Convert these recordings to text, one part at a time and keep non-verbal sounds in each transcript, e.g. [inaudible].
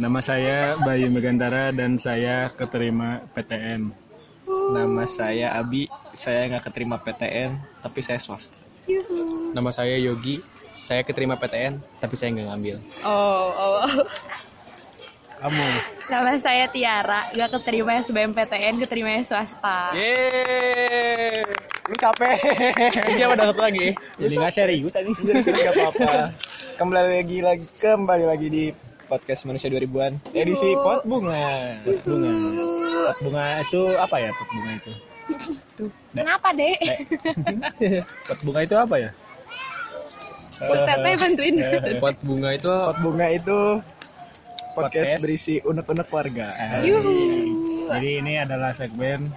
Nama saya Bayu Megantara dan saya keterima PTN. Nama saya Abi, saya nggak keterima PTN, tapi saya swasta. Nama saya Yogi, saya keterima PTN, tapi saya nggak ngambil. Oh, oh, oh. Kamu Nama saya Tiara, gak keterima SBMPTN, keterima swasta. Yeay! Lu capek. Siapa dapat lagi? jadi nggak serius ini. Gak apa-apa. Kembali lagi lagi kembali lagi di podcast manusia 2000-an edisi pot bunga. Bunga. Pot bunga itu apa ya? Pot bunga itu. Kenapa, Dek? Eh, Pot bunga itu apa ya? Teteh bantuin. Eh. Pot bunga itu Pot bunga itu Podcast. podcast, berisi unek-unek warga. Ah, Yuhu. Jadi ini adalah segmen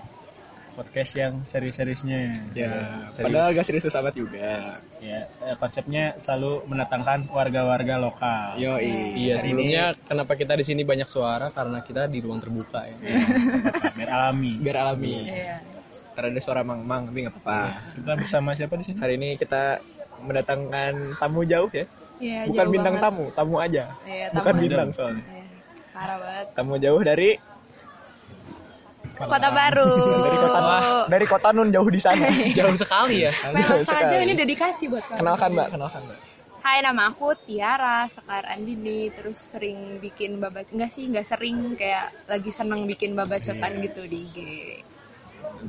podcast yang serius-seriusnya. Iya, Ya, serius. padahal gak serius amat juga. Ya, eh, konsepnya selalu mendatangkan warga-warga lokal. Yoi. Iya, Hari sebelumnya kenapa kita di sini banyak suara karena kita di ruang terbuka ya. Biar alami. Biar alami. Iya. Ntar ada suara mang-mang tapi nggak apa-apa. Iya. Kita bersama siapa di sini? Hari ini kita mendatangkan tamu jauh ya. Iya, Bukan jauh bintang banget. tamu, tamu aja. Iya, tamu Bukan aja. bintang soalnya. Iya, Parah banget. Tamu jauh dari Kota Baru. dari kota dari kota nun jauh di [laughs] sana. Jauh sekali ya. Oh. Memang Jauh sengaja sekali. ini dedikasi buat kamu. Kenalkan Mbak, kenalkan Mbak. Hai, nama aku Tiara Sekar Andini, terus sering bikin babat enggak sih, enggak sering kayak lagi seneng bikin babacotan Iya. gitu di IG.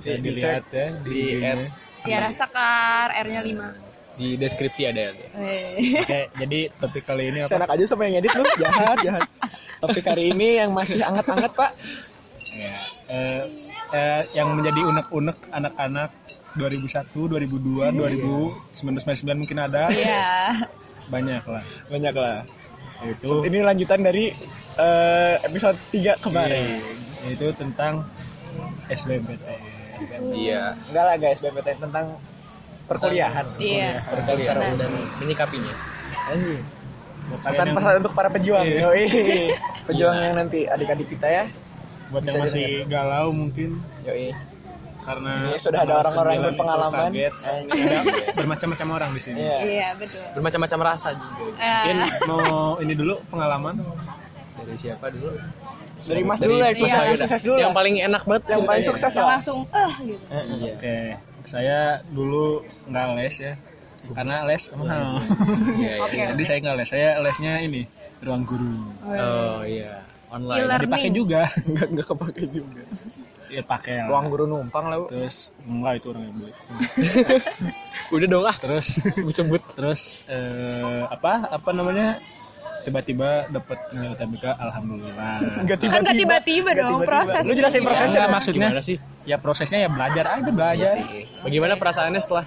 Bisa dilihat ya di IG-nya. app. Tiara Sekar, R-nya 5. Di deskripsi ada ya. Iya. Oke, Eh, jadi topik kali ini apa? Senak Ya, aja sama yang edit lu, jahat, jahat. Topik hari ini yang masih anget-anget, Pak. Ya, eh, eh, yang menjadi unek-unek anak-anak 2001, 2002, Iya. 2099 mungkin ada. Iya. Banyak lah. Banyak lah. Itu Ini lanjutan dari eh, episode 3 kemarin. itu tentang SBMPT. Iya. Enggak lah guys, BPT tentang perkuliahan. Iya. Perkalian secara umum dan menyikapinya. Anjing. Buat kalian yang- Pesan-pesan untuk para pejuang. Iya. Yoi. [laughs] Pejuang Iya. yang nanti adik-adik kita ya. buat yang bisa masih galau mungkin Yoi. karena Ini Iya, sudah tanggal ada orang-orang yang 9 itu berpengalaman. kaget. Anjing. Ada bermacam-macam orang di sini. Iya. Iya, betul. Bermacam-macam rasa juga. Mungkin Eh, mau ini dulu pengalaman Dari siapa dulu? Dari Mas dulu lah, sukses, Mas Yuda. sukses dulu Yang lah. paling enak banget Yang paling ceritanya. sukses ya. yang lah. langsung eh gitu. Iya. Oke, saya dulu nggak les ya, karena les mahal. Iya, iya. Oke. Jadi saya nggak les, saya lesnya ini ruang guru. Oh iya. Online. Dipakai E-learning. juga, [laughs] Enggak enggak kepake juga. ya pakai lah. Ruang guru numpang lah. Bu. Terus enggak itu orang yang beli. Udah dong ah. [laughs] Terus, [laughs] Sebut. terus eh, apa apa namanya? Tiba-tiba eh, dapat nilai UTBK, [laughs] alhamdulillah. Enggak Kan nggak tiba-tiba Nggak eh. dong tiba-tiba. proses. Lu jelasin prosesnya. Enggak, maksudnya Gimana sih? ya prosesnya ya belajar aja Iya belajar. Bagaimana perasaannya setelah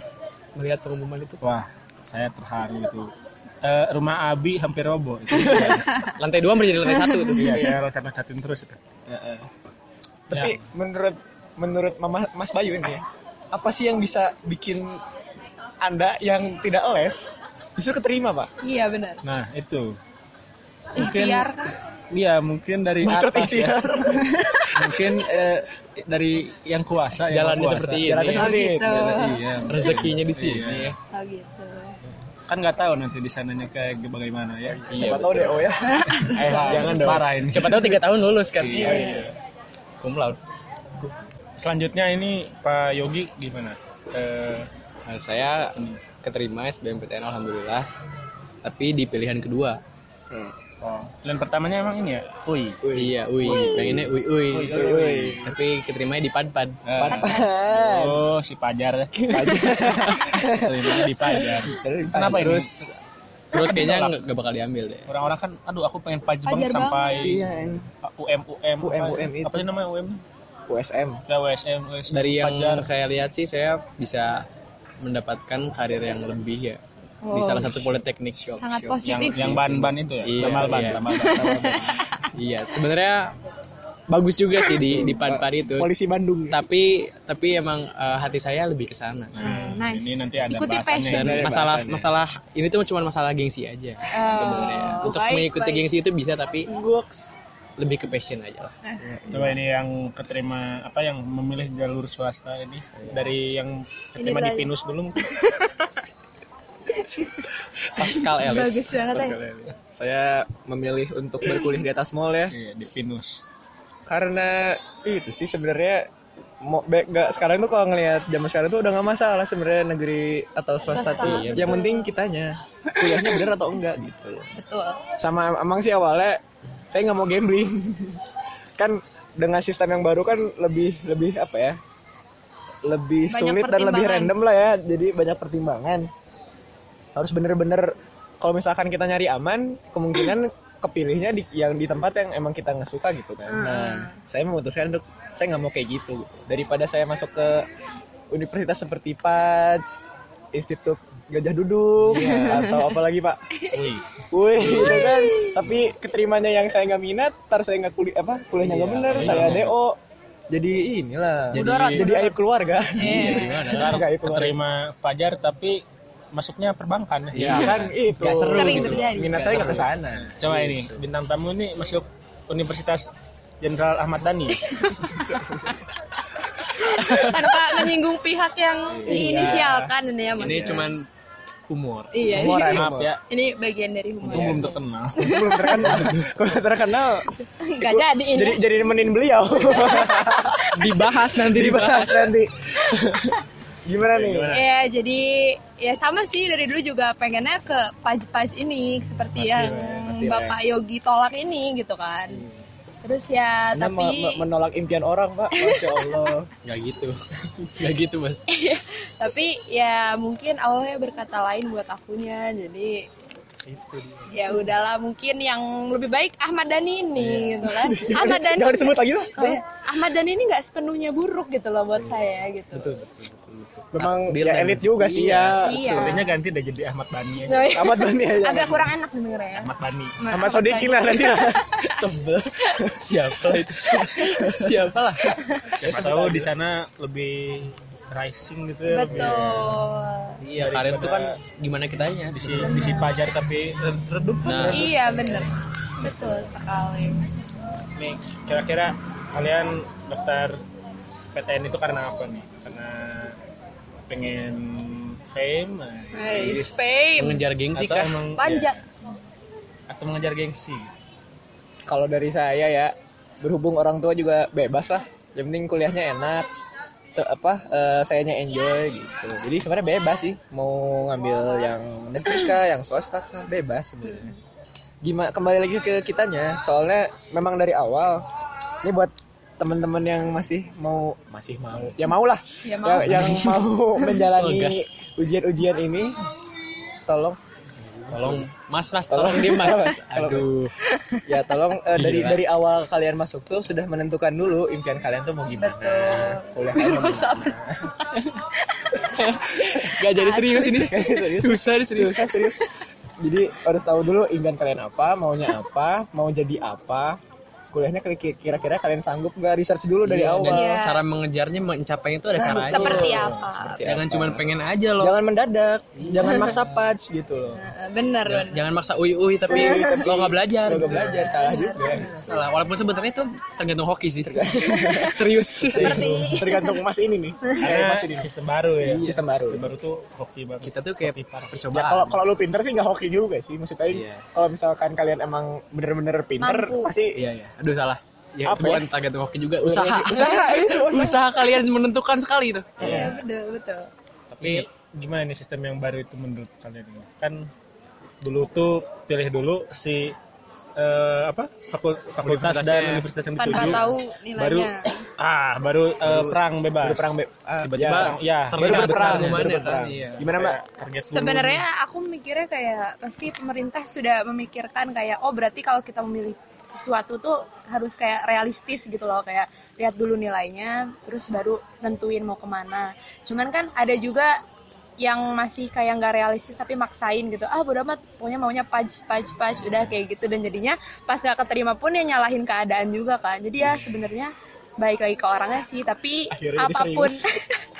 melihat pengumuman itu? Wah, saya terharu itu. Eh, rumah Abi hampir [laughs] roboh. Itu. Lantai dua menjadi lantai satu tuh. Iya, saya loncat-loncatin terus itu. Heeh. Tapi menurut menurut Mama Mas Bayu ini ya, apa sih yang bisa bikin Anda yang tidak les justru keterima, Pak? Iya, benar. Nah, itu. Mungkin- Ikhtiar kan. Iya mungkin dari Bacot atas ya. ikhtiar. [laughs] Mungkin eh, dari yang kuasa. yang Jalannya kuasa. seperti ini. Jalannya seperti gitu. itu. Iya. Rezekinya di sini Iya. ya. Oh gitu. Kan nggak tahu nanti di sananya kayak bagaimana ya. Siapa Iya, tahu deh, oh ya. Eh, Wah, jangan dong. parah ini. Siapa tahu tiga tahun lulus kan. Iya, Cum laude. Selanjutnya ini Pak Yogi gimana? Eh, Nah, saya keterima SBMPTN alhamdulillah. Tapi di pilihan kedua. dan pertamanya emang ini ya. Ui. Iya, UI. Pengennya UI UI. Ui, ui, ui. Tapi keterimanya di Padpad. Ah. oh si [laughs] Pajar ya. Terima di Pajar. Kenapa ini? Terus terus kayaknya nggak- nggak bakal diambil deh. Orang-orang kan, aduh aku pengen Pajar banget Pajar sampai Iya, UM UM UM, apa- UM itu. Apa sih namanya UM? USM. Ya WSM WSM Dari yang Pajar. saya lihat sih saya bisa mendapatkan karir yang lebih ya di Wow. salah satu politeknik shop. Sangat yang positif. yang ban-ban itu ya, Iya, ramal ban, iya. ramal ban. [laughs] ramal Ah, ban. Iya, sebenarnya bagus juga sih di di Padpad itu. Polisi Bandung. Tapi tapi emang eh, hati saya lebih ke sana. Nah, nice. Ini nanti ada Ikuti bahasannya. Iya, passion. Dan Ada masalah bahasannya. masalah ini tuh cuma masalah gengsi aja sebenarnya. Oh, Untuk baik, mengikuti baik. gengsi itu bisa tapi Goks. lebih ke passion aja lah. Coba ini yang keterima apa yang memilih jalur swasta ini dari yang keterima di belajar. Pinus dulu mungkin. Pas Pascal Elis. Bagus banget ya. Saya memilih untuk berkuliah di atas mall [laughs] ya. Iya, di Pinus. karena itu sih sebenarnya mau baik gak sekarang tuh kalau ngelihat zaman sekarang tuh udah nggak masalah sebenarnya negeri atau swasta, Swasta. tuh Iya, yang betul. penting kitanya kuliahnya bener atau enggak gitu Betul. sama emang sih awalnya saya nggak mau gambling kan dengan sistem yang baru kan lebih lebih apa ya lebih Banyak sulit dan lebih pertimbangan. random lah ya jadi banyak pertimbangan harus bener-bener kalau misalkan kita nyari aman kemungkinan kepilihnya di yang di tempat yang emang kita nggak suka gitu kan Ah. nah saya memutuskan untuk saya nggak mau kayak gitu daripada saya masuk ke universitas seperti PATS Institut Gajah Duduk atau apalagi pak Wih, Wih, gitu kan. Tapi keterimanya yang saya nggak minat, ntar saya nggak kuliah apa kuliahnya nggak bener, saya DO. Jadi inilah. Jadi, Mudorot, mudorot. aib keluarga. Iya. gimana? Nggak, itu Keterima Pajar tapi masuknya perbankan. Iya. ya kan itu. Nggak seru Sering gitu. terjadi. Minat saya nggak ke sana. Coba ini bintang tamu ini masuk Universitas Jenderal Ahmad Dhani. Tanpa menyinggung pihak yang diinisialkan ini ya Mas. Ini cuman humor. Iya. [laughs] Humor, ini- Maaf ya, Ini bagian dari humor. untung belum terkenal. Itu belum terkenal. Kalau terkenal Enggak jadi ini. jadi jadi nemenin beliau. Dibahas nanti jadi bahas nanti. Gimana nih? Ya jadi ya sama sih dari dulu juga pengennya ke paj-paj ini seperti yang Bapak Yogi tolak ini gitu kan. Terus ya Iya. Anda tapi me- menolak impian orang, Pak. Masya Allah. Gak gitu. Gak gitu, Mas. tapi ya mungkin Allah berkata lain buat akunya jadi ya udahlah mungkin yang lebih baik Ahmad Dhani ini gitu kan Ahmad Dhani Iya. [laughs] Jangan disebut lagi lah. Eh, Ahmad Dhani ini nggak sepenuhnya buruk gitu loh Iya. buat saya gitu Memang Dia ya memang- elit juga sih ya. Iya. Sebenarnya ganti udah jadi Ahmad Dhani aja. Nah, Amat Bani aja. agak kurang enak dengernya ya. Ahmad Dhani. Amat Sodikin lah nanti lah. Sebel. Siapa itu? Siapa lah? Siapa tahu di sana lebih rising gitu ya. lebih- betul Iya, karir itu kan gimana kitanya. Bisi, bisi Pajar tapi redup kan. Nah, Iya bener Betul sekali Nih, kira-kira kalian daftar PTN itu karena apa nih? Karena pengen fame nah, Hey, Spain mengejar gengsi atau kah? emang Panjat ya, atau mengejar gengsi? kalau dari saya ya berhubung orang tua juga bebas lah yang penting kuliahnya enak Ce- apa eh, sayanya enjoy gitu jadi sebenarnya bebas sih mau ngambil yang negeri kah yang swasta kah bebas sebenarnya gimana kembali lagi ke kitanya soalnya memang dari awal ini buat teman-teman yang masih mau masih mau ya mau lah Ya mau yang, yang [laughs] mau menjalani Gas. ujian-ujian ini tolong Tolong, Mas, Mas, Tolong. tolong dia, Mas. Mas. Tolong, Mas. Aduh. ya tolong eh, dari Gila. dari awal kalian masuk tuh sudah menentukan dulu impian kalian tuh mau gimana Betul. kuliah kalian mau gimana. Gak jadi serius ini. Susah nih serius. Susah, serius jadi harus tahu dulu impian kalian apa maunya apa mau jadi apa kuliahnya kira- kira-kira kalian sanggup nggak research dulu dari Iya, awal dan Iya. Nah, cara mengejarnya mencapainya itu ada caranya. Seperti apa Seperti Jangan apa. cuma pengen aja loh. jangan mendadak Iya. jangan maksa patch gitu loh Nah, Bener Jangan, bener jangan maksa uy uy tapi Iya. lo nggak Iya. belajar. Iya. Lo nggak belajar salah juga Salah. Walaupun sebenarnya itu tergantung hoki sih. serius. Seperti tergantung mas ini [laughs] nih kayak Karena mas ini sistem baru ya. sistem baru Sistem baru tuh hoki banget. Kita tuh kayak Hoki parah. Ya, kalau percobaan. kalau lu pinter sih nggak hoki juga sih maksudnya Iya. kalau misalkan kalian emang bener-bener pinter Mampu. pasti Iya iya. Aduh salah. Ya, Apa itu bukan tergantung hoki juga usaha. usaha itu usaha. usaha kalian menentukan sekali itu. Iya betul betul Tapi gimana nih sistem yang baru itu menurut kalian? ini? Kan dulu tuh pilih dulu si eh, apa fakul- fakultas Universitasnya. dan universitas yang Tanpa dituju. tahu Baru nilainya ah baru, eh, perang bebas. Baru perang be- ah, Tiba-tiba ya, terlihat baru berperang, besar baru lumayan ya berperang. kan. Iya. Gimana mbak? Target dulu. Sebenarnya aku mikirnya kayak Pasti pemerintah sudah memikirkan kayak Oh berarti kalau kita memilih sesuatu tuh harus kayak realistis gitu loh kayak lihat dulu nilainya terus baru nentuin mau kemana cuman kan ada juga yang masih kayak nggak realistis tapi maksain gitu ah bodo amat pokoknya maunya paj paj paj udah kayak gitu dan jadinya pas gak keterima pun ya nyalahin keadaan juga kan jadi ya sebenarnya baik lagi ke orangnya sih tapi Akhirnya jadi apapun [laughs]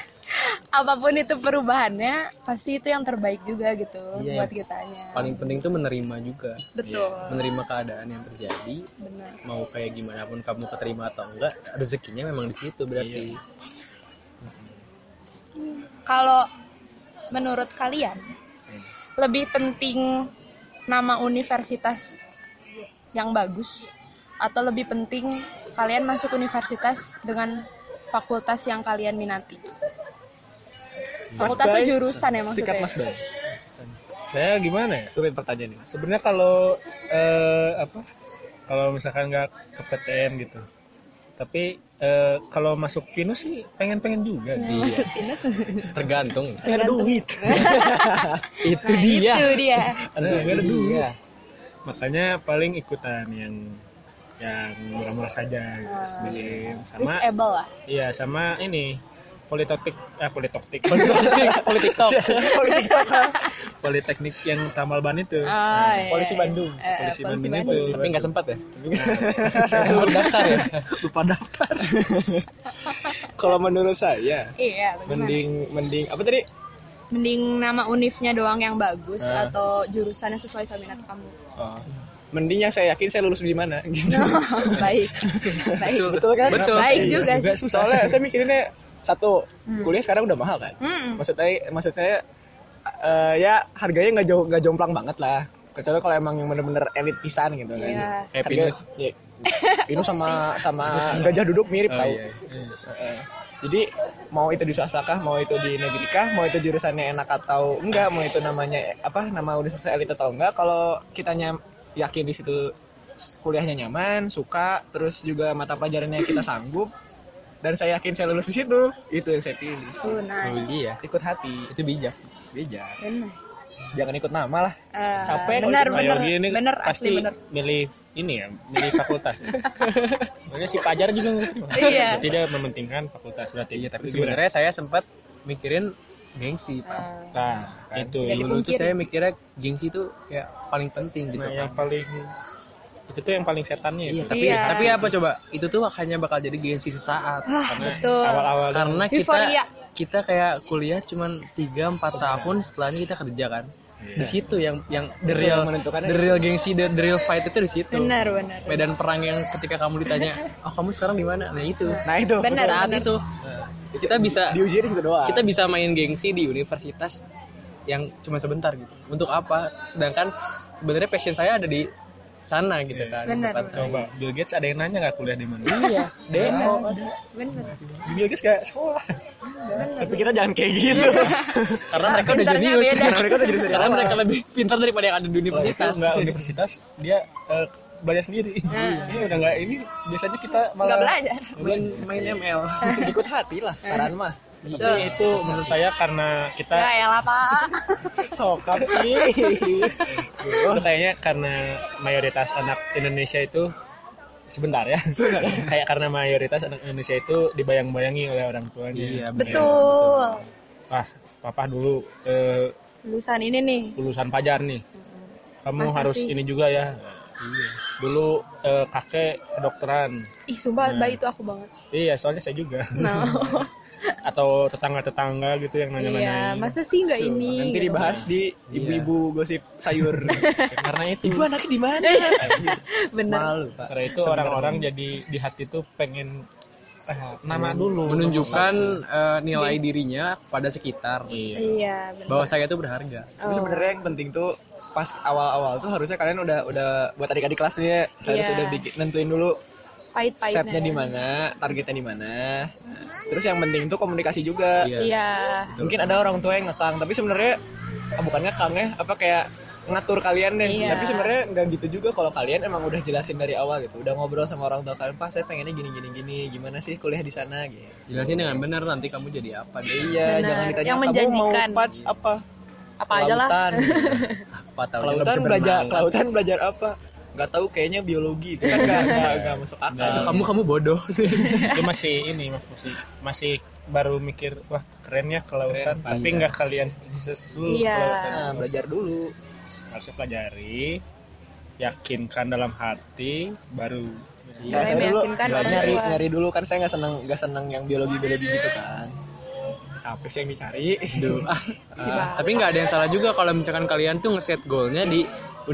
apapun itu perubahannya pasti itu yang terbaik juga gitu Iya, buat kitanya Paling Iya, penting tuh menerima juga. betul Menerima keadaan yang terjadi. benar Mau kayak gimana pun kamu keterima atau enggak, rezekinya memang di situ berarti. kalau menurut kalian lebih penting nama universitas yang bagus atau lebih penting kalian masuk universitas dengan fakultas yang kalian minati. Fakultas Bay, itu jurusan ya maksudnya. Sikat Mas Bay. Saya gimana ya? Sulit pertanyaan ini. Sebenarnya kalau eh, apa? Kalau misalkan nggak ke PTN gitu. Tapi eh, kalau masuk pinus sih pengen-pengen juga. Ya, Iya. masuk dinas. Tergantung. Pengen ada duit. Itu Nah, dia. Itu [laughs] dia. Aduh, nggak ada duit. [laughs] Iya. Makanya paling ikutan yang yang murah-murah saja gitu, SBM sama Reachable lah. iya sama ini politeknik eh politeknik politeknik Politik. [laughs] politeknik yang Tamal Ban itu Ah, iya, Polisi iya. Bandung. Eh, polisi Bandung itu Tapi nggak sempat ya? saya Sempat daftar ya? lupa daftar [laughs] Kalau menurut saya Iya, bagaimana? Mending, mending mending apa tadi? nama univnya doang yang bagus Ah. atau jurusannya sesuai sama minat kamu. Oh. Mending yang saya yakin saya lulus di mana [laughs] gitu. baik. Baik. Betul kan? Betul. Baik juga sih. Soalnya saya mikirinnya satu, Hmm. kuliah sekarang udah mahal kan? Mm-mm. maksud saya maksud saya eh, ya harganya nggak jauh nggak jomplang banget lah kecuali kalau emang yang bener-bener elit pisan gitu kan Iya. Kayak Harga- pinus. [laughs] iya. pinus sama sama gajah duduk mirip Oh, tau iya. Heeh. jadi mau itu di swasta kah mau itu di negeri kah mau itu jurusannya enak atau enggak mau itu namanya apa nama universitas elit atau enggak kalau kitanya yakin di situ kuliahnya nyaman suka terus juga mata pelajarannya kita sanggup dan saya yakin saya lulus di situ itu yang saya pilih Oh, nice. Oh, iya. ikut hati Itu bijak. Bijak. Benar. Jangan ikut nama lah. Eh, Capek kalau benar cuma benar Ayo, gini benar pasti asli benar milih ini ya milih [laughs] fakultas sebenarnya si pajar juga nggak terima Iya. Berarti dia mementingkan fakultas berarti Iya, tapi Jujur. sebenarnya saya sempat mikirin gengsi, Pak. Eh, nah itu Jadi dulu tuh Ah, dipungkiri. saya mikirnya gengsi itu ya paling penting gitu nah, kan. yang paling itu tuh yang paling setannya Iya, itu tapi Iya. tapi apa coba? Itu tuh hanya bakal jadi gengsi sesaat. karena betul. awal-awal Karena kita Ah, Euforia. kita kayak kuliah cuman 3 4 tahun setelahnya kita kerja kan. Iya. Di situ yang yang the Itu real yang menentukannya. the real gengsi the, the real fight itu di situ. benar benar Medan perang yang ketika kamu ditanya, "Oh, kamu sekarang di mana?" Nah, itu. Nah itu. Benar. Saat itu kita bisa Diuji di situ doang. kita bisa main gengsi di universitas yang cuma sebentar gitu. Untuk apa? Sedangkan sebenarnya passion saya ada di sana gitu kan. Benar, tempat benar. coba Bill Gates ada yang nanya nggak kuliah di mana Iya, demo. benar Bill Gates gak sekolah benar Tapi kita jangan kayak gitu. Karena mereka udah Pinternya jenius. Ah, beda. Karena mereka udah jenius. Karena mereka lebih pintar daripada yang ada di itu universitas. nggak universitas dia eh, belajar sendiri ini udah nggak ini biasanya kita malah nggak belajar [laughs] Main, main ML. [laughs] ikut hati lah. Saran mah. tapi itu menurut saya karena kita ya elah pak Sokap sih. itu kayaknya karena mayoritas anak Indonesia itu sebentar ya [laughs] kayak karena mayoritas anak Indonesia itu dibayang-bayangi oleh orang tuanya Iya. Nah, betul wah papa dulu eh, lulusan ini nih lulusan pajar nih kamu Masa harus sih? ini juga ya dulu eh, kakek kedokteran ih Nah. sumpah bayi itu aku banget iya soalnya saya juga nah [laughs] atau tetangga-tetangga gitu yang iya nanya-nanyain masa sih nggak ini Nanti gitu. dibahas di ibu-ibu gosip sayur. [laughs] Karena itu Iya. [laughs] Ibu anaknya di mana? benar Malu pak. karena itu orang-orang jadi di hati tuh pengen eh, nama dulu Iya. menunjukkan eh, nilai dirinya pada sekitar iya iya benar bahwa saya itu berharga. Tapi sebenarnya Oh. yang penting tuh pas awal-awal tuh harusnya kalian udah udah buat adik-adik kelasnya harus Iya. ya. udah bikin nentuin dulu pahit pahitnya setnya di mana, targetnya di mana. Nah, Terus yang penting tuh komunikasi juga. iya mungkin ada orang tua yang ngekang tapi sebenarnya ah, bukan ngekang ya apa kayak ngatur kalian deh Iya. tapi sebenarnya nggak gitu juga kalau kalian emang udah jelasin dari awal gitu udah ngobrol sama orang tua kalian pak saya pengennya gini gini gini gimana sih kuliah di sana gitu Jelasin dengan benar nanti kamu jadi apa deh. iya Benar. jangan ditanya Yang kamu mau menjanjikan." patch apa apa aja lah Kelautan, [laughs] gitu. Apa tahu dia kelautan bisa belajar berenang. kelautan belajar apa nggak tahu kayaknya biologi itu kan nggak nggak- nggak masuk akal Itu kamu kamu bodoh. dia masih ini Mas, masih masih baru mikir wah keren ya ke lautan Keren, tapi iya. Ah, nggak kalian riset dulu Iya. ke lautan Nah, belajar dulu harus pelajari yakinkan dalam hati baru Ya, Karena saya dulu meyakinkan orang nyari tua. nyari dulu kan saya nggak senang nggak senang yang biologi biologi gitu kan siapa sih yang dicari Aduh, ah. si Pak. Tapi nggak ada yang salah juga kalau misalkan kalian tuh ngeset goalnya di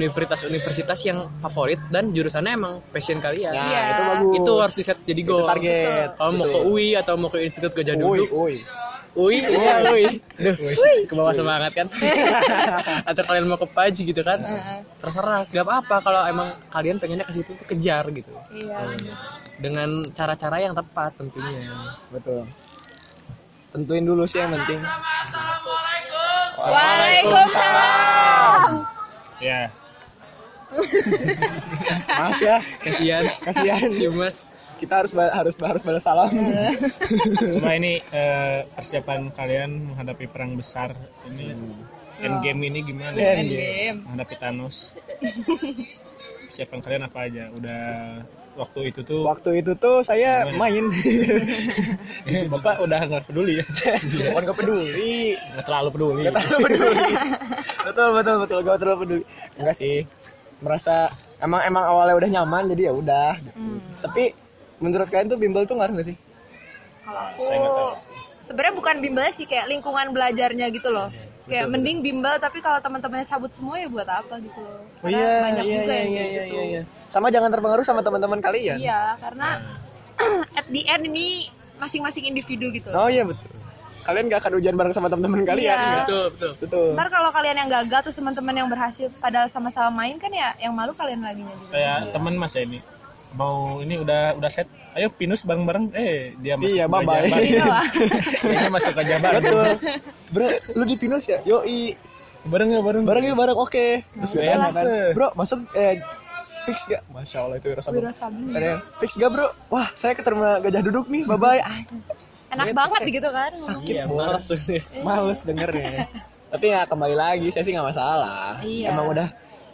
universitas-universitas yang favorit dan jurusannya emang passion kalian. Iya. Nah, itu bagus. Itu harus di set Ya. jadi Itu goal. target. Kalau mau Betul. ya, ke UI atau mau ke Institut Gajah Ui, Duduk ui. Ui, iya ui. Duh, ke bawah semangat kan. [laughs] Atau kalian mau ke Paj gitu kan. Terserah, gak apa-apa kalau emang kalian pengennya ke situ tuh kejar gitu. Iya. Dengan cara-cara yang tepat tentunya. betul tentuin dulu sih yang penting Waalaikumsalam. Ya, maaf ya Kasihan, [laughs] kasihan si Mas. kita harus ba- harus harus balas salam Eh, cuma ini eh, persiapan kalian menghadapi perang besar ini endgame ini gimana? Hmm. Endgame. Endgame. Menghadapi Thanos. persiapan kalian apa aja? Udah waktu itu tuh waktu itu tuh saya main [laughs] bapak udah nggak peduli ya? Iya. bukan gak peduli Nggak terlalu peduli. gak terlalu peduli betul betul betul gak terlalu peduli enggak sih merasa emang emang awalnya udah nyaman jadi ya udah Hmm. tapi menurut kalian tuh bimbel tuh ngaruh gak sih Kalau aku sebenarnya bukan bimbelnya sih kayak lingkungan belajarnya gitu loh. Kayak mending bimbel tapi kalau teman-temannya cabut semua ya buat apa gitu loh. Karena iya, banyak juga yang kayak gitu. sama jangan terpengaruh sama teman-teman kalian Iya, karena [clears throat] at the end ini masing-masing individu gitu. oh iya betul kalian gak akan hujan bareng sama teman-teman kalian Iya. enggak? Betul, betul. betul Ntar kalau kalian yang gagal terus teman-teman yang berhasil padahal sama-sama main kan ya yang malu kalian lagi gitu? Iya. juga. Kayak temen mas ya ini mau ini udah udah set ayo pinus bareng bareng eh dia masuk Iya, ke bye-bye. Jabar. [laughs] Gitu lah. Kayaknya masuk ke Jabar. betul bro lu di pinus ya yoi Bareng ya bareng. bareng yuk bareng oke terus Nah, bilang udah kan lah. bro masuk eh fix gak masya allah itu rasa Wira Sabli. saya fix gak bro wah saya keterima gajah duduk nih bye bye ah, Enak banget gitu kan. ngomongnya. Iya, males tuh. males dengernya tapi ya kembali lagi saya sih nggak masalah Iya. emang udah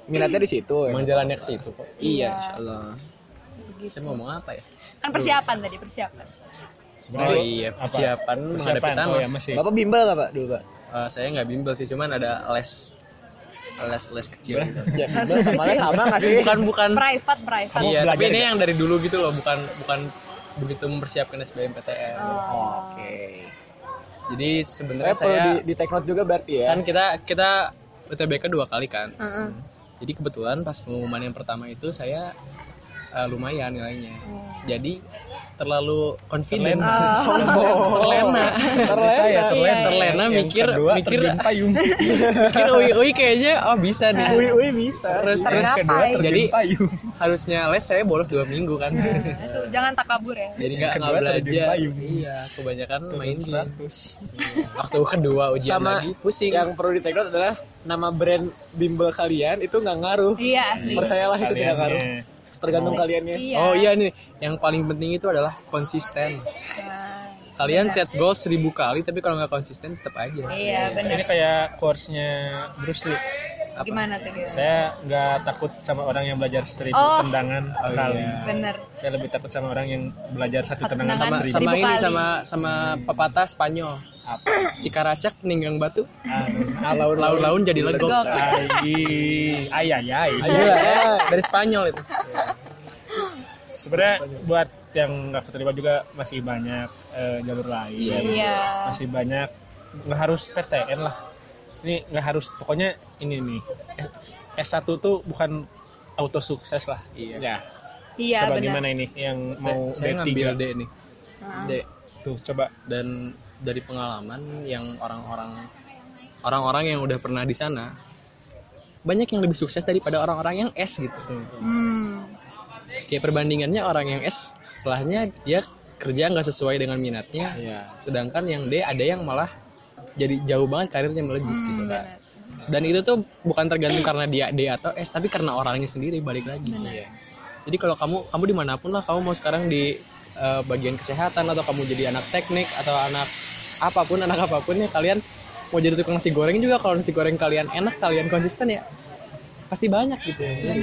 minatnya di situ Emang ya. jalannya ke situ kok. iya insya allah Begitu. Saya mau ngomong apa ya? Kan persiapan tadi, persiapan. Sebenarnya Oh iya, apa? persiapan menghadapi Persiapan. Oh Thanos. ya masih. bapak bimbel nggak pak dulu pak Eh, saya nggak bimbel sih, cuman ada les les les kecil. gitu. ya, Langsung bimbel sama kecil. sama nggak [laughs] sih Bukan bukan. Private, private. Hmm. Iya, belajar tapi ini yang dari dulu gitu loh, bukan bukan begitu mempersiapkan SBMPTN. Oh. oke Jadi sebenarnya saya perlu saya di, di take note juga berarti ya kan kita kita UTBK dua kali kan. Heeh. Jadi kebetulan pas pengumuman yang pertama itu saya eh, lumayan nilainya. Oh. Jadi terlalu confident. Ah. [laughs] Terlena. terlena Terlena, terlena mikir mikir [laughs] mikir ui ui kayaknya oh bisa Ah. nih. [laughs] ui ui bisa Terus terus Tergapai. jadi [laughs] harusnya les saya bolos dua minggu kan Nah, itu jangan takabur ya. jadi nggak nggak belajar iya kebanyakan main game waktu kedua ujian Sama lagi pusing Iya, yang perlu di take note adalah nama brand bimbel kalian itu nggak ngaruh Iya, asli. percayalah itu tidak ngaruh Kaliannya. tergantung kaliannya Iya. oh iya nih yang paling penting itu adalah konsisten Nah, kalian set goal seribu kali tapi kalau nggak konsisten tetap aja Iya, benar. Ini kayak course-nya Bruce Lee. Gimana tuh dia? Saya nggak takut sama orang yang belajar seribu Oh. tendangan sekali. iya. Bener. Saya lebih takut sama orang yang belajar satu, Satu tendangan sama tendangan. seribu. sama Seribu ini kali. sama sama pepatah Spanyol Apa? cikaracak ninggang batu Ah, Oh, laut laut. laun-laun jadi legok Ah, Legok. Ai, ai, ai, ai. Iya, eh, dari Spanyol itu Sebenarnya buat yang nggak keterima juga masih banyak eh, jalur lain. Iya. masih banyak nggak harus PTN lah ini nggak harus pokoknya ini nih S1 tuh bukan auto sukses lah Iya. ya Iya, coba benar. gimana ini yang mau saya, saya D3 ngambil D nih Heeh. D tuh coba dan dari pengalaman yang orang-orang orang-orang yang udah pernah di sana banyak yang lebih sukses daripada orang-orang yang S gitu. tuh Hmm. Kayak perbandingannya orang yang S setelahnya dia kerja nggak sesuai dengan minatnya, Iya. sedangkan yang D ada yang malah jadi jauh banget karirnya melejit hmm, gitu kan. Dan itu tuh bukan tergantung karena dia D atau S, tapi karena orangnya sendiri balik lagi. Iya. Jadi kalau kamu kamu dimanapun lah kamu mau sekarang di eh, bagian kesehatan atau kamu jadi anak teknik atau anak apapun anak apapun ya kalian mau jadi tukang nasi goreng juga kalau nasi goreng kalian enak kalian konsisten ya pasti banyak gitu ya. Benar.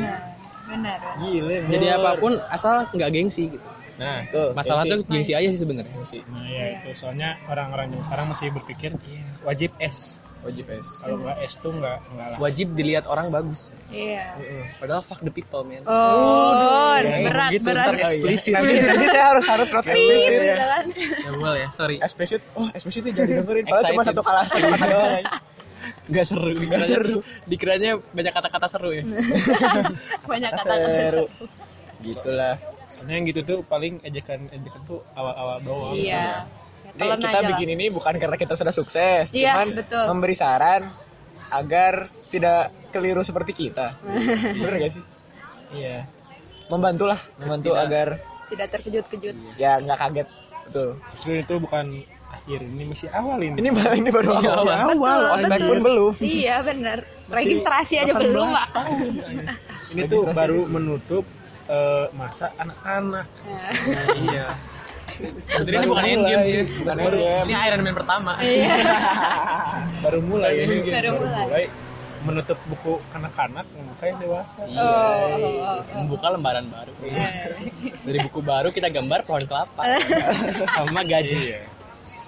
Benar. benar. gile Jadi apapun asal nggak gengsi gitu. nah tuh Masalah tuh gengsi aja sih sebenarnya. nah ya itu soalnya orang-orang yang sekarang masih berpikir wajib S Wajib es. kalau nggak S tuh nggak nggak lah Wajib dilihat orang bagus. Iya. Padahal fuck the people man. Oh, Oh, iya, berat, gitu, berat. ntar eksplisit nanti, nanti saya harus harus not Iya, eksplisit ya beneran. [laughs] Ya boleh ya, sorry. eksplisit oh eksplisit itu jadi dengerin padahal cuma Excited. satu kalah ya. [laughs] satu kata doang Gak seru. Gak seru. Dikiranya banyak kata-kata seru ya. Banyak kata-kata Seru. seru. gitulah soalnya yang gitu tuh paling ejekan ejekan tuh awal-awal doang Iya. Nih, telan kita aja lah. bikin ini bukan karena kita sudah sukses, Iya, cuman betul. memberi saran agar tidak keliru seperti kita. [laughs] Bener gak sih? Iya. Membantulah, membantu agar tidak terkejut-kejut ya nggak kaget. Betul. Justru itu bukan akhir, ini masih awal ini. Ini ba- ini baru Iya, Masih awal. awal. Betul, Ospek betul. pun belum. iya benar registrasi aja belum pak Ini tuh baru menutup eh, masa anak-anak. iya sebetulnya ini bukan Iya. endgame sih Bukan baru endgame. ini Iron Man pertama Baru mulai ini. Baru mulai. menutup buku kanak-kanak membuka yang dewasa. oh, oh, oh, oh. membuka lembaran baru dari buku baru kita gambar pohon [laughs] kelapa sama gaji Iya.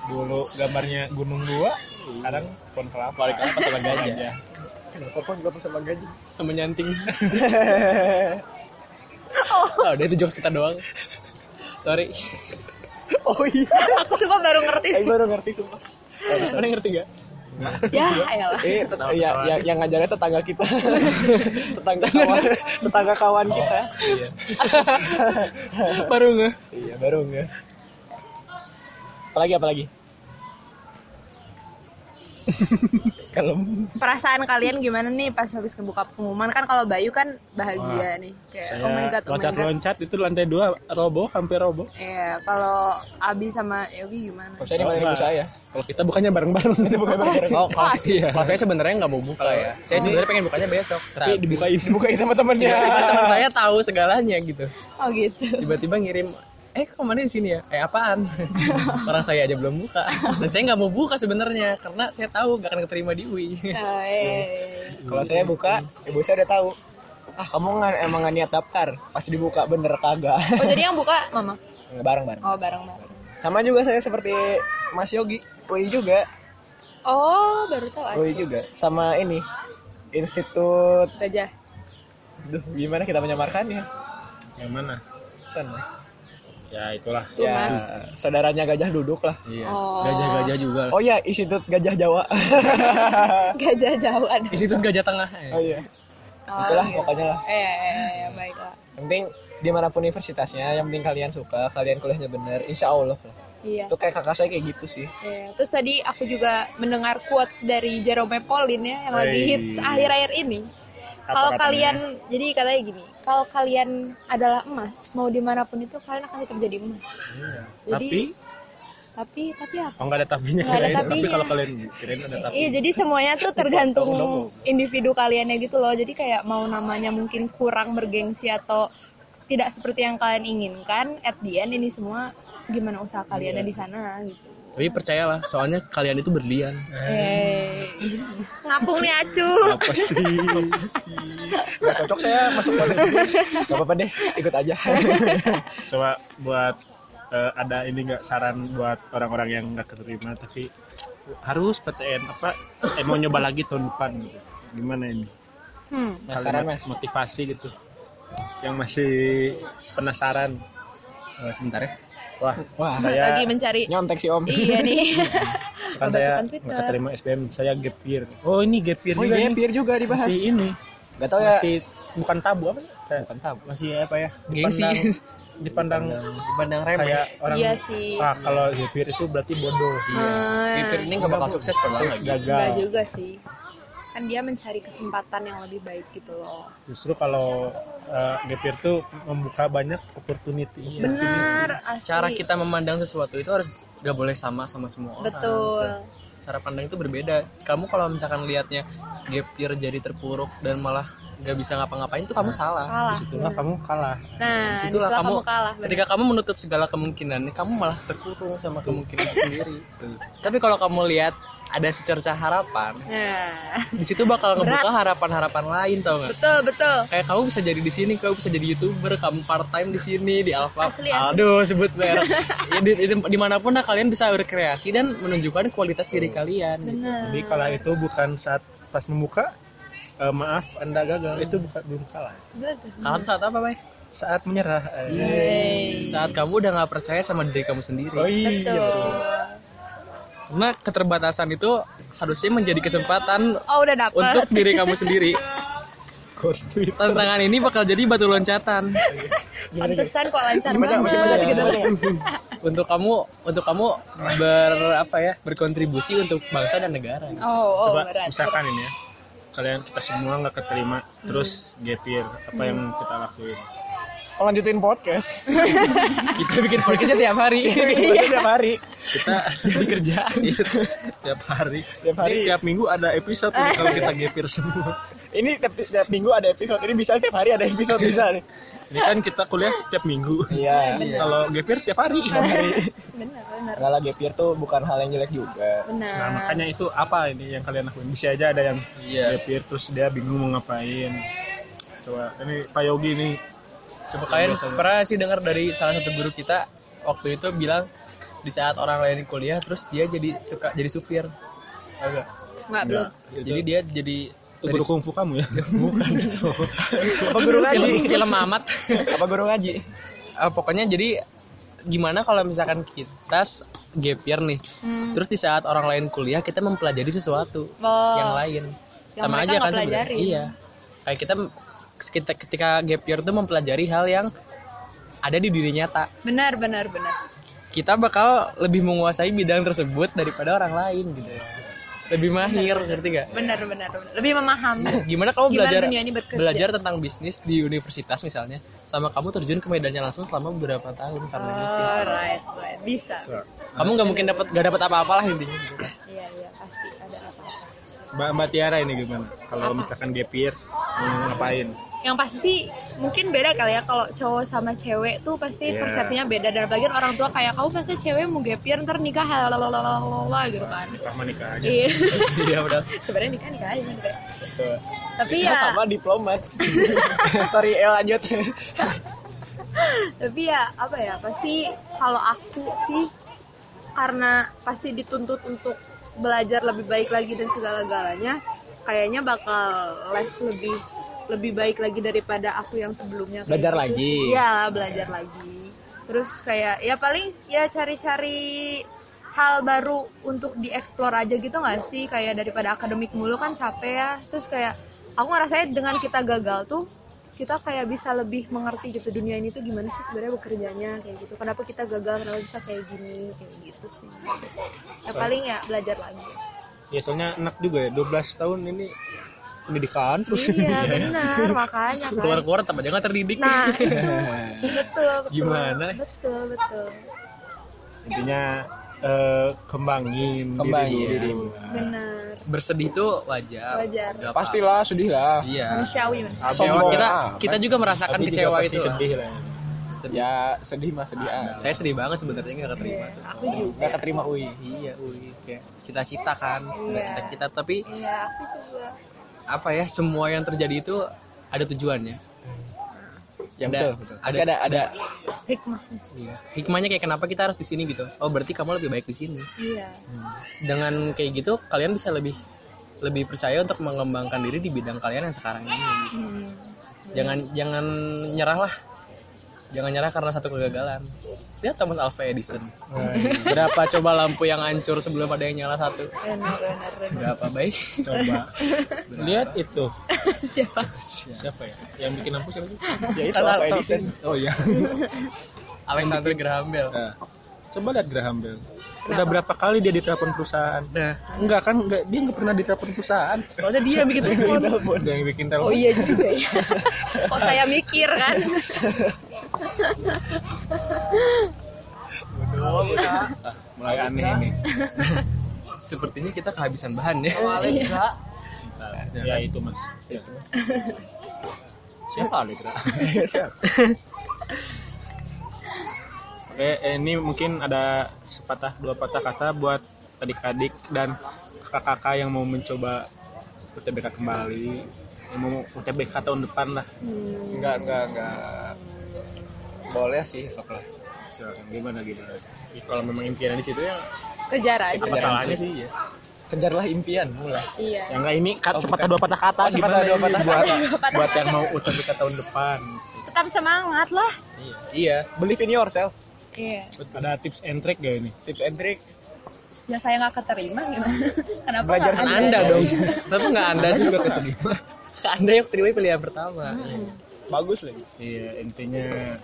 Dulu gambarnya gunung dua, sekarang pohon kelapa. pohon kelapa sama gaji Aja. Kenapa pun gak sama gaji? sama nyanting oh udah itu jokes kita doang sorry Oh iya, aku coba baru [laughs] ngerti saya sih baru ngerti sumpah. mana yang ngerti gak ya ayolah Eh, tet- ya, ya, yang ngajarnya tetangga kita, [laughs] tetangga kawan, tetangga kawan kita. Iya. baru nggak Iya, baru nggak. Apalagi, apalagi? Oh Kalau perasaan kalian gimana nih pas habis ngebuka pengumuman kan kalau Bayu kan bahagia nih kayak Saya oh my god oh my god loncat-loncat itu lantai dua roboh, hampir roboh. Iya, kalau Abi sama Yogi gimana? saya di mana ibu saya? Kalau kita bukannya bareng-bareng. oh kalau kalau saya sebenarnya nggak mau buka ya saya sebenarnya pengen bukanya besok Tapi tapi dibukain, dibukain sama Iya. temannya. Iya. teman saya tahu segalanya gitu Oh [laughs] gitu. tiba-tiba ngirim eh kok mana di sini ya eh apaan orang saya aja belum buka dan saya nggak mau buka sebenarnya karena saya tahu nggak akan keterima di UI Oh, eh. Kalau saya buka, ibu saya udah tahu. Ah, kamu nggak emang nggak niat daftar? Pas dibuka bener kagak? [laughs] oh jadi yang buka mama? bareng bareng. Oh bareng-bareng. Sama juga saya seperti Mas Yogi, UI juga, Oh baru tahu aja. UI juga. Sama ini Institut, Gajah. duh gimana kita menyamarkannya? Yang mana? Sana. Ya itulah. Ya, saudaranya gajah duduk lah. iya Oh. gajah-gajah juga Oh iya, Institut Gajah [laughs] Jawa. Gajah Jawa. ada. Institut Gajah Tengah eh. oh iya, Oh, itulah gitu. pokoknya lah. Eh, eh, eh, eh, baiklah. Yang penting dimanapun universitasnya, yang penting kalian suka, kalian kuliahnya bener, insya Allah. lah. Iya. Itu kayak kakak saya kayak gitu [laughs] sih. Iya. Terus tadi aku juga mendengar quotes dari Jerome Pauline ya yang lagi Wey. hits akhir-akhir ini. Kalau katanya? kalian jadi katanya gini, kalau kalian adalah emas, mau dimanapun itu kalian akan tetap jadi emas. Iya. Tapi Jadi tapi tapi apa? Oh nggak ada tapinya Nggak ada kirain. Tapi tapinya. kalau kalian kirain ada tapi. Iya, jadi semuanya [laughs] tuh tergantung individu kaliannya gitu loh. Jadi kayak mau namanya mungkin kurang bergengsi atau tidak seperti yang kalian inginkan, at the end ini semua gimana usaha kalian Iya. di sana gitu. tapi percayalah soalnya kalian itu berlian Eh, ngapung nih acu. Apa sih? Gak cocok saya masuk polisi. Gak apa-apa deh, ikut [laughs] aja. [laughs] Coba buat eh, ada ini nggak saran buat orang-orang yang nggak keterima tapi harus PTN apa? Eh, mau nyoba lagi tahun depan gitu. Gimana ini? Hmm. Nah, Kalimat saran, Mas. motivasi gitu. Yang masih penasaran. Eh, sebentar ya Wah, Wah, saya Lagi mencari. nyontek si Om. Iya nih. kan saya Pemasukan Twitter. nggak keterima SBM, saya gap year. Oh ini gap year [laughs] Oh juga iya, nih. peer juga dibahas. Masih ini. Gak tau ya. Masih bukan tabu apa? Kayak Bukan tabu. masih apa ya gengsi [laughs] Dipandang- [laughs] dipandang dipandang kayak orang Iya sih. ah kalau Zephyr itu berarti bodoh Eh, Pipir ini nggak bakal sukses pernah lagi gagal enggak Gitu, juga sih. Kan dia mencari kesempatan yang lebih baik gitu loh. justru kalau uh, Zephyr tuh membuka banyak Iya. opportunity Benar, asli. cara kita memandang sesuatu itu harus nggak boleh sama sama semua orang betul. cara pandang itu berbeda. Kamu kalau misalkan lihatnya gap year jadi terpuruk dan malah nggak bisa ngapa-ngapain itu kamu salah. Salah. Itulah kamu kalah Nah, Disitulah disitulah kamu, kamu- kalah. benar. Ketika kamu menutup segala kemungkinan, kamu malah terkurung sama kemungkinan sendiri. Tapi kalau kamu lihat ada secerca harapan, Nah, [laughs] di situ bakal ngebuka harapan-harapan lain tau nggak? betul betul. Kayak kamu bisa jadi di sini, kamu bisa jadi youtuber, kamu part time di sini di [laughs] Alfa. Asli, asli. Aduh, sebut merek. ya, di, di- dimanapun lah kalian bisa berkreasi dan menunjukkan kualitas diri Oh. kalian. Benar. jadi kalah itu bukan saat pas membuka eh, maaf anda gagal itu bukan belum kalah Betul. Kalian saat apa, Bay? saat menyerah eh. Iya, Yeay. Saat kamu udah nggak percaya sama diri kamu sendiri. oh iya Betul. Karena keterbatasan itu harusnya menjadi kesempatan Oh, udah untuk dapet. diri kamu sendiri. ghost tweet Tantangan ini bakal jadi batu loncatan. [laughs] Iya. Pantesan kok lancar Masih banyak, banget masih banyak, gitu. masih banyak. untuk kamu untuk kamu ber apa ya berkontribusi untuk bangsa dan negara Oh, oh coba berat. misalkan ini ya kalian kita semua nggak keterima terus gapir apa yang Hmm. kita lakuin Oh, lanjutin [laughs] podcast. kita bikin podcastnya tiap hari Iya. tiap hari. kita jadi kerja [laughs] tiap hari Tiap hari. Jadi tiap minggu ada episode nih kalau kita gapir semua [laughs] Ini tiap, tiap minggu ada episode. Ini bisa tiap hari ada episode bisa nih. ini kan kita kuliah tiap minggu Iya. kalau gapir tiap hari Benar, benar. Enggak lah gap year tuh bukan hal yang jelek juga. Benar. nah makanya itu apa ini yang kalian lakuin bisa aja ada yang Iya. gapir terus dia bingung mau ngapain coba ini Pak Yogi nih coba kalian pernah sih dengar dari salah satu guru kita waktu itu bilang di saat orang lain kuliah terus dia jadi tuka, jadi supir Tau nggak? Nggak, belum. jadi dia jadi itu guru kungfu kamu ya bukan Apa Iya. guru ngaji? film, film amat Apa guru ngaji? Eh, pokoknya jadi gimana kalau misalkan kita s- gap year nih Hmm. terus di saat orang lain kuliah kita mempelajari sesuatu Oh, yang lain Yang sama mereka aja nggak kan sebenarnya pelajarin. iya kayak kita kita ketika gap year tuh mempelajari hal yang ada di diri nyata benar, benar, benar. kita bakal lebih menguasai bidang tersebut daripada orang lain gitu lebih mahir ngerti gak Benar, benar, benar. Lebih memahami. gimana kamu Gimana belajar dunia ini bekerja? belajar tentang bisnis di universitas misalnya sama kamu terjun ke medannya langsung selama beberapa tahun karena Ah. gap year. Alright, Oh, right. bisa. bisa. kamu nggak mungkin dapat gak dapat apa-apalah intinya gitu kan. Iya, iya, pasti ada apa. [laughs] Mbak, Mbak Tiara ini gimana kalau misalkan gapir mau ngapain Yang pasti sih mungkin beda kali ya kalau cowok sama cewek tuh pasti Iya. persepsinya beda dan apalagi orang tua kayak kamu masa cewek mau gapir ntar nikah halalala gitu kan. nikah mah nikah aja Iya, iya udah sebenarnya nikah nikah aja gitu. coba Tapi Kita ya sama diplomat. [laughs] Sorry, El lanjut. tapi ya apa ya pasti kalau aku sih karena pasti dituntut untuk belajar lebih baik lagi dan segala-galanya kayaknya bakal les lebih lebih baik lagi daripada aku yang sebelumnya kayak Belajar gitu lagi. sih. iya belajar lagi terus kayak ya paling ya cari-cari hal baru untuk dieksplor aja gitu nggak sih kayak daripada akademik mulu kan capek ya terus kayak aku ngerasanya dengan kita gagal tuh kita kayak bisa lebih mengerti gitu dunia ini tuh gimana sih sebenarnya bekerjanya kayak gitu kenapa kita gagal kenapa bisa kayak gini kayak gitu sih ya paling ya belajar lagi ya soalnya enak juga ya 12 tahun ini pendidikan terus [laughs] iya benar makanya kan keluar-keluar tetap aja nggak terdidik nah itu betul betul Gimana? betul betul intinya eh, kembangin, Iya. Kembangin. diri dirimu benar bersedih tuh wajar Wajar. Nggak apa-apa. Pastilah sedih lah. iya manusiawi manusiawi. kecewa Sombong Ah, kita amat. kita juga Tapi Ah, merasakan juga kecewa pasti itu lah. sedih lah ya. Sedih. Ya sedih mah sedih ah. saya sedih banget sebenarnya nggak keterima Iya, tuh aku Sedih. juga Gak keterima UI. iya ui kayak cita-cita kan Iya. cita-cita kita tapi iya aku juga apa ya semua yang terjadi itu ada tujuannya Ya betul. Ada. Ada. Masih ada ada hikmah iya. hikmahnya kayak kenapa kita harus di sini gitu oh berarti kamu lebih baik di sini iya dengan kayak gitu kalian bisa lebih lebih percaya untuk mengembangkan diri di bidang kalian yang sekarang ini gitu. Hmm. jangan jangan nyerah lah jangan nyerah karena satu kegagalan lihat Thomas Alva Edison berapa coba lampu yang hancur sebelum ada yang nyala satu benar benar benar berapa baik coba lihat itu siapa [laughs] siapa ya yang bikin lampu siapa sih ya itu apa Edison. oh [laughs] iya Alexander Graham Bell Nah, coba lihat Graham Bell udah berapa kali dia ditelepon perusahaan nah enggak kan enggak dia nggak pernah ditelepon perusahaan soalnya dia yang bikin telepon udah yang bikin telepon oh iya juga ya [laughs] kok saya mikir kan Ah, mulai aneh ini sepertinya kita kehabisan bahan ya ya itu mas Ya. siapa [laughs] Alegra oke eh, ini mungkin ada sepatah dua patah kata buat adik-adik dan kakak-kakak yang mau mencoba UTBK kembali yang mau UTBK tahun depan lah Hmm. Enggak enggak enggak. Boleh sih sok lah. silakan gimana gimana Ya, kalau memang impian di situ ya kejar aja apa salahnya sih ya Kejarlah impian mulai. iya yang enggak ini kat, Oh, sepatah dua patah kata sepatah gimana dua ini [laughs] patah buat kata. buat yang mau UTBK tahun depan tetap semangat lah iya Believe in yourself. iya ada tips and trick gak ini Tips and trick. ya saya nggak keterima [laughs] gimana kenapa Belajar nggak Kan anda dong kenapa nggak anda sih nggak keterima anda yang keterima pilihan pertama Bagus lagi. Iya, intinya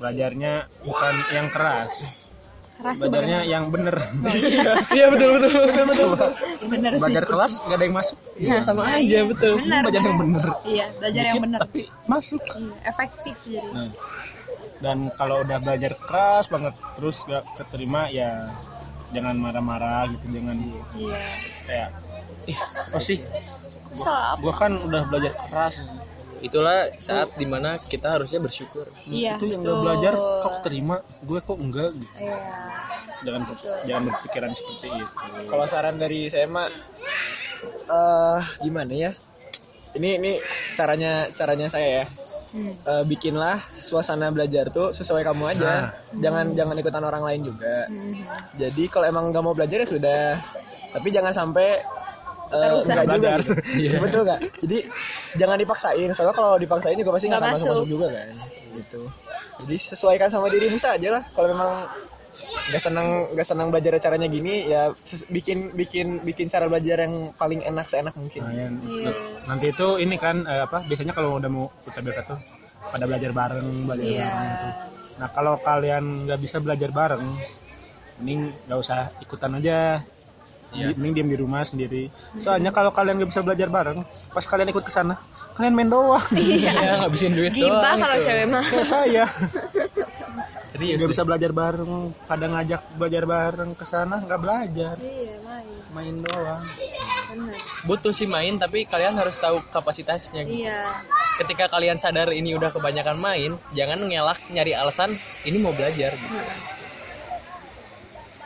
belajarnya bukan yang keras, Keras Belajarnya yang bener. [laughs] Iya betul betul betul betul. bener sih. Nah, Belajar kelas nggak ada yang masuk. Iya sama aja betul. Bener, Belajar yang bener. Iya, belajar yang Dikit, bener. Tapi masuk. Iya, efektif jadi. Nah. Dan kalau udah belajar keras banget terus gak keterima ya jangan marah-marah gitu jangan Iya. kayak ih apa sih Aku salah apa? gua kan udah belajar keras Itulah saat dimana kita harusnya bersyukur. Nah, Iya, Hmm, itu yang gak betul. belajar kok terima gue kok enggak gitu Iya. jangan jangan berpikiran seperti itu Kalau saran dari saya mah eh gimana ya? Ini ini caranya caranya saya ya. Hmm. Eh, bikinlah suasana belajar tuh sesuai kamu aja. Jangan jangan ikutan orang lain juga. Hmm. Jadi kalau emang nggak mau belajar ya sudah. Tapi jangan sampai eh, Terus nggak juga belajar. gitu. Betul nggak? Jadi jangan dipaksain. Soalnya kalau dipaksain juga pasti nggak Nggak akan masuk masuk masuk. juga kan. Gitu. Jadi sesuaikan sama dirimu saja lah. Kalau memang nggak senang nggak senang belajar caranya gini ya ses- bikin bikin bikin cara belajar yang paling enak seenak Nah, mungkin. ya, Iya. nanti itu ini kan eh, apa biasanya kalau udah mau UTBK tuh pada belajar bareng belajar Iya. bareng gitu. Nah kalau kalian nggak bisa belajar bareng, mending nggak usah ikutan aja. Iya. Mending diam di rumah sendiri. Soalnya kalau kalian nggak bisa belajar bareng, pas kalian ikut ke sana, kalian main doang. Iya ngabisin duit Gibah doang kalau itu. cewek mah. Kayak saya Serius. nggak bisa belajar bareng, pada ngajak belajar bareng ke sana nggak belajar, Iya, main. main doang. Benar. Butuh sih main tapi kalian harus tahu kapasitasnya. Iya. Ketika kalian sadar ini udah kebanyakan main, jangan ngelak nyari alasan ini mau belajar gitu.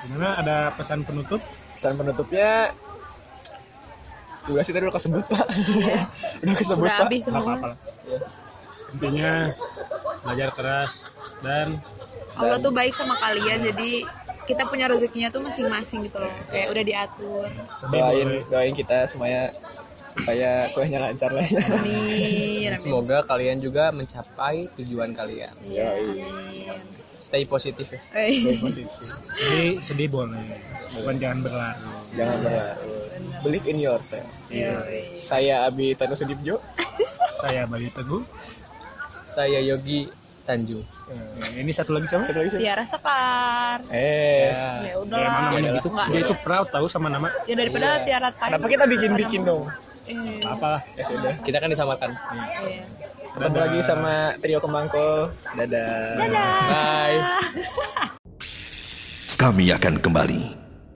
Gimana ada pesan penutup? Pesan penutupnya juga sih tadi udah kesebut [laughs] pak. udah kesebut Udah pak. habis Nggak semua. apa-apa lah. Ya. Intinya belajar keras dan Allah tuh baik sama kalian jadi kita punya rezekinya tuh masing-masing gitu loh. Kayak udah diatur. sedih boleh. Doain doain kita semuanya supaya kuliahnya lancar lah. ya. Amin. Amin. Semoga kalian juga mencapai tujuan kalian. Iya, amin. Stay positif ya. Eh, sedih sedih boleh cuman jangan berlarut Jangan berlarut. Believe in yourself. yoi. Saya Abi Tanu Sudibjo. saya Bayu Teguh Saya Yogi Tanjung. Eh, ini satu lagi sama Satu lagi siapa? Tiara Sekar. Eh, Ya Jangan udahlah. namanya gitu Iya. Nggak. dia itu proud tahu sama nama Ya daripada Tiara Tanjung. kenapa kita bikin-bikin dong? Eh, Nggak apalah Ya sudah. Kita kan disamakan. iya. Ketemu lagi sama trio Kemangkol. Dadah. Dadah. Bye. Kami akan kembali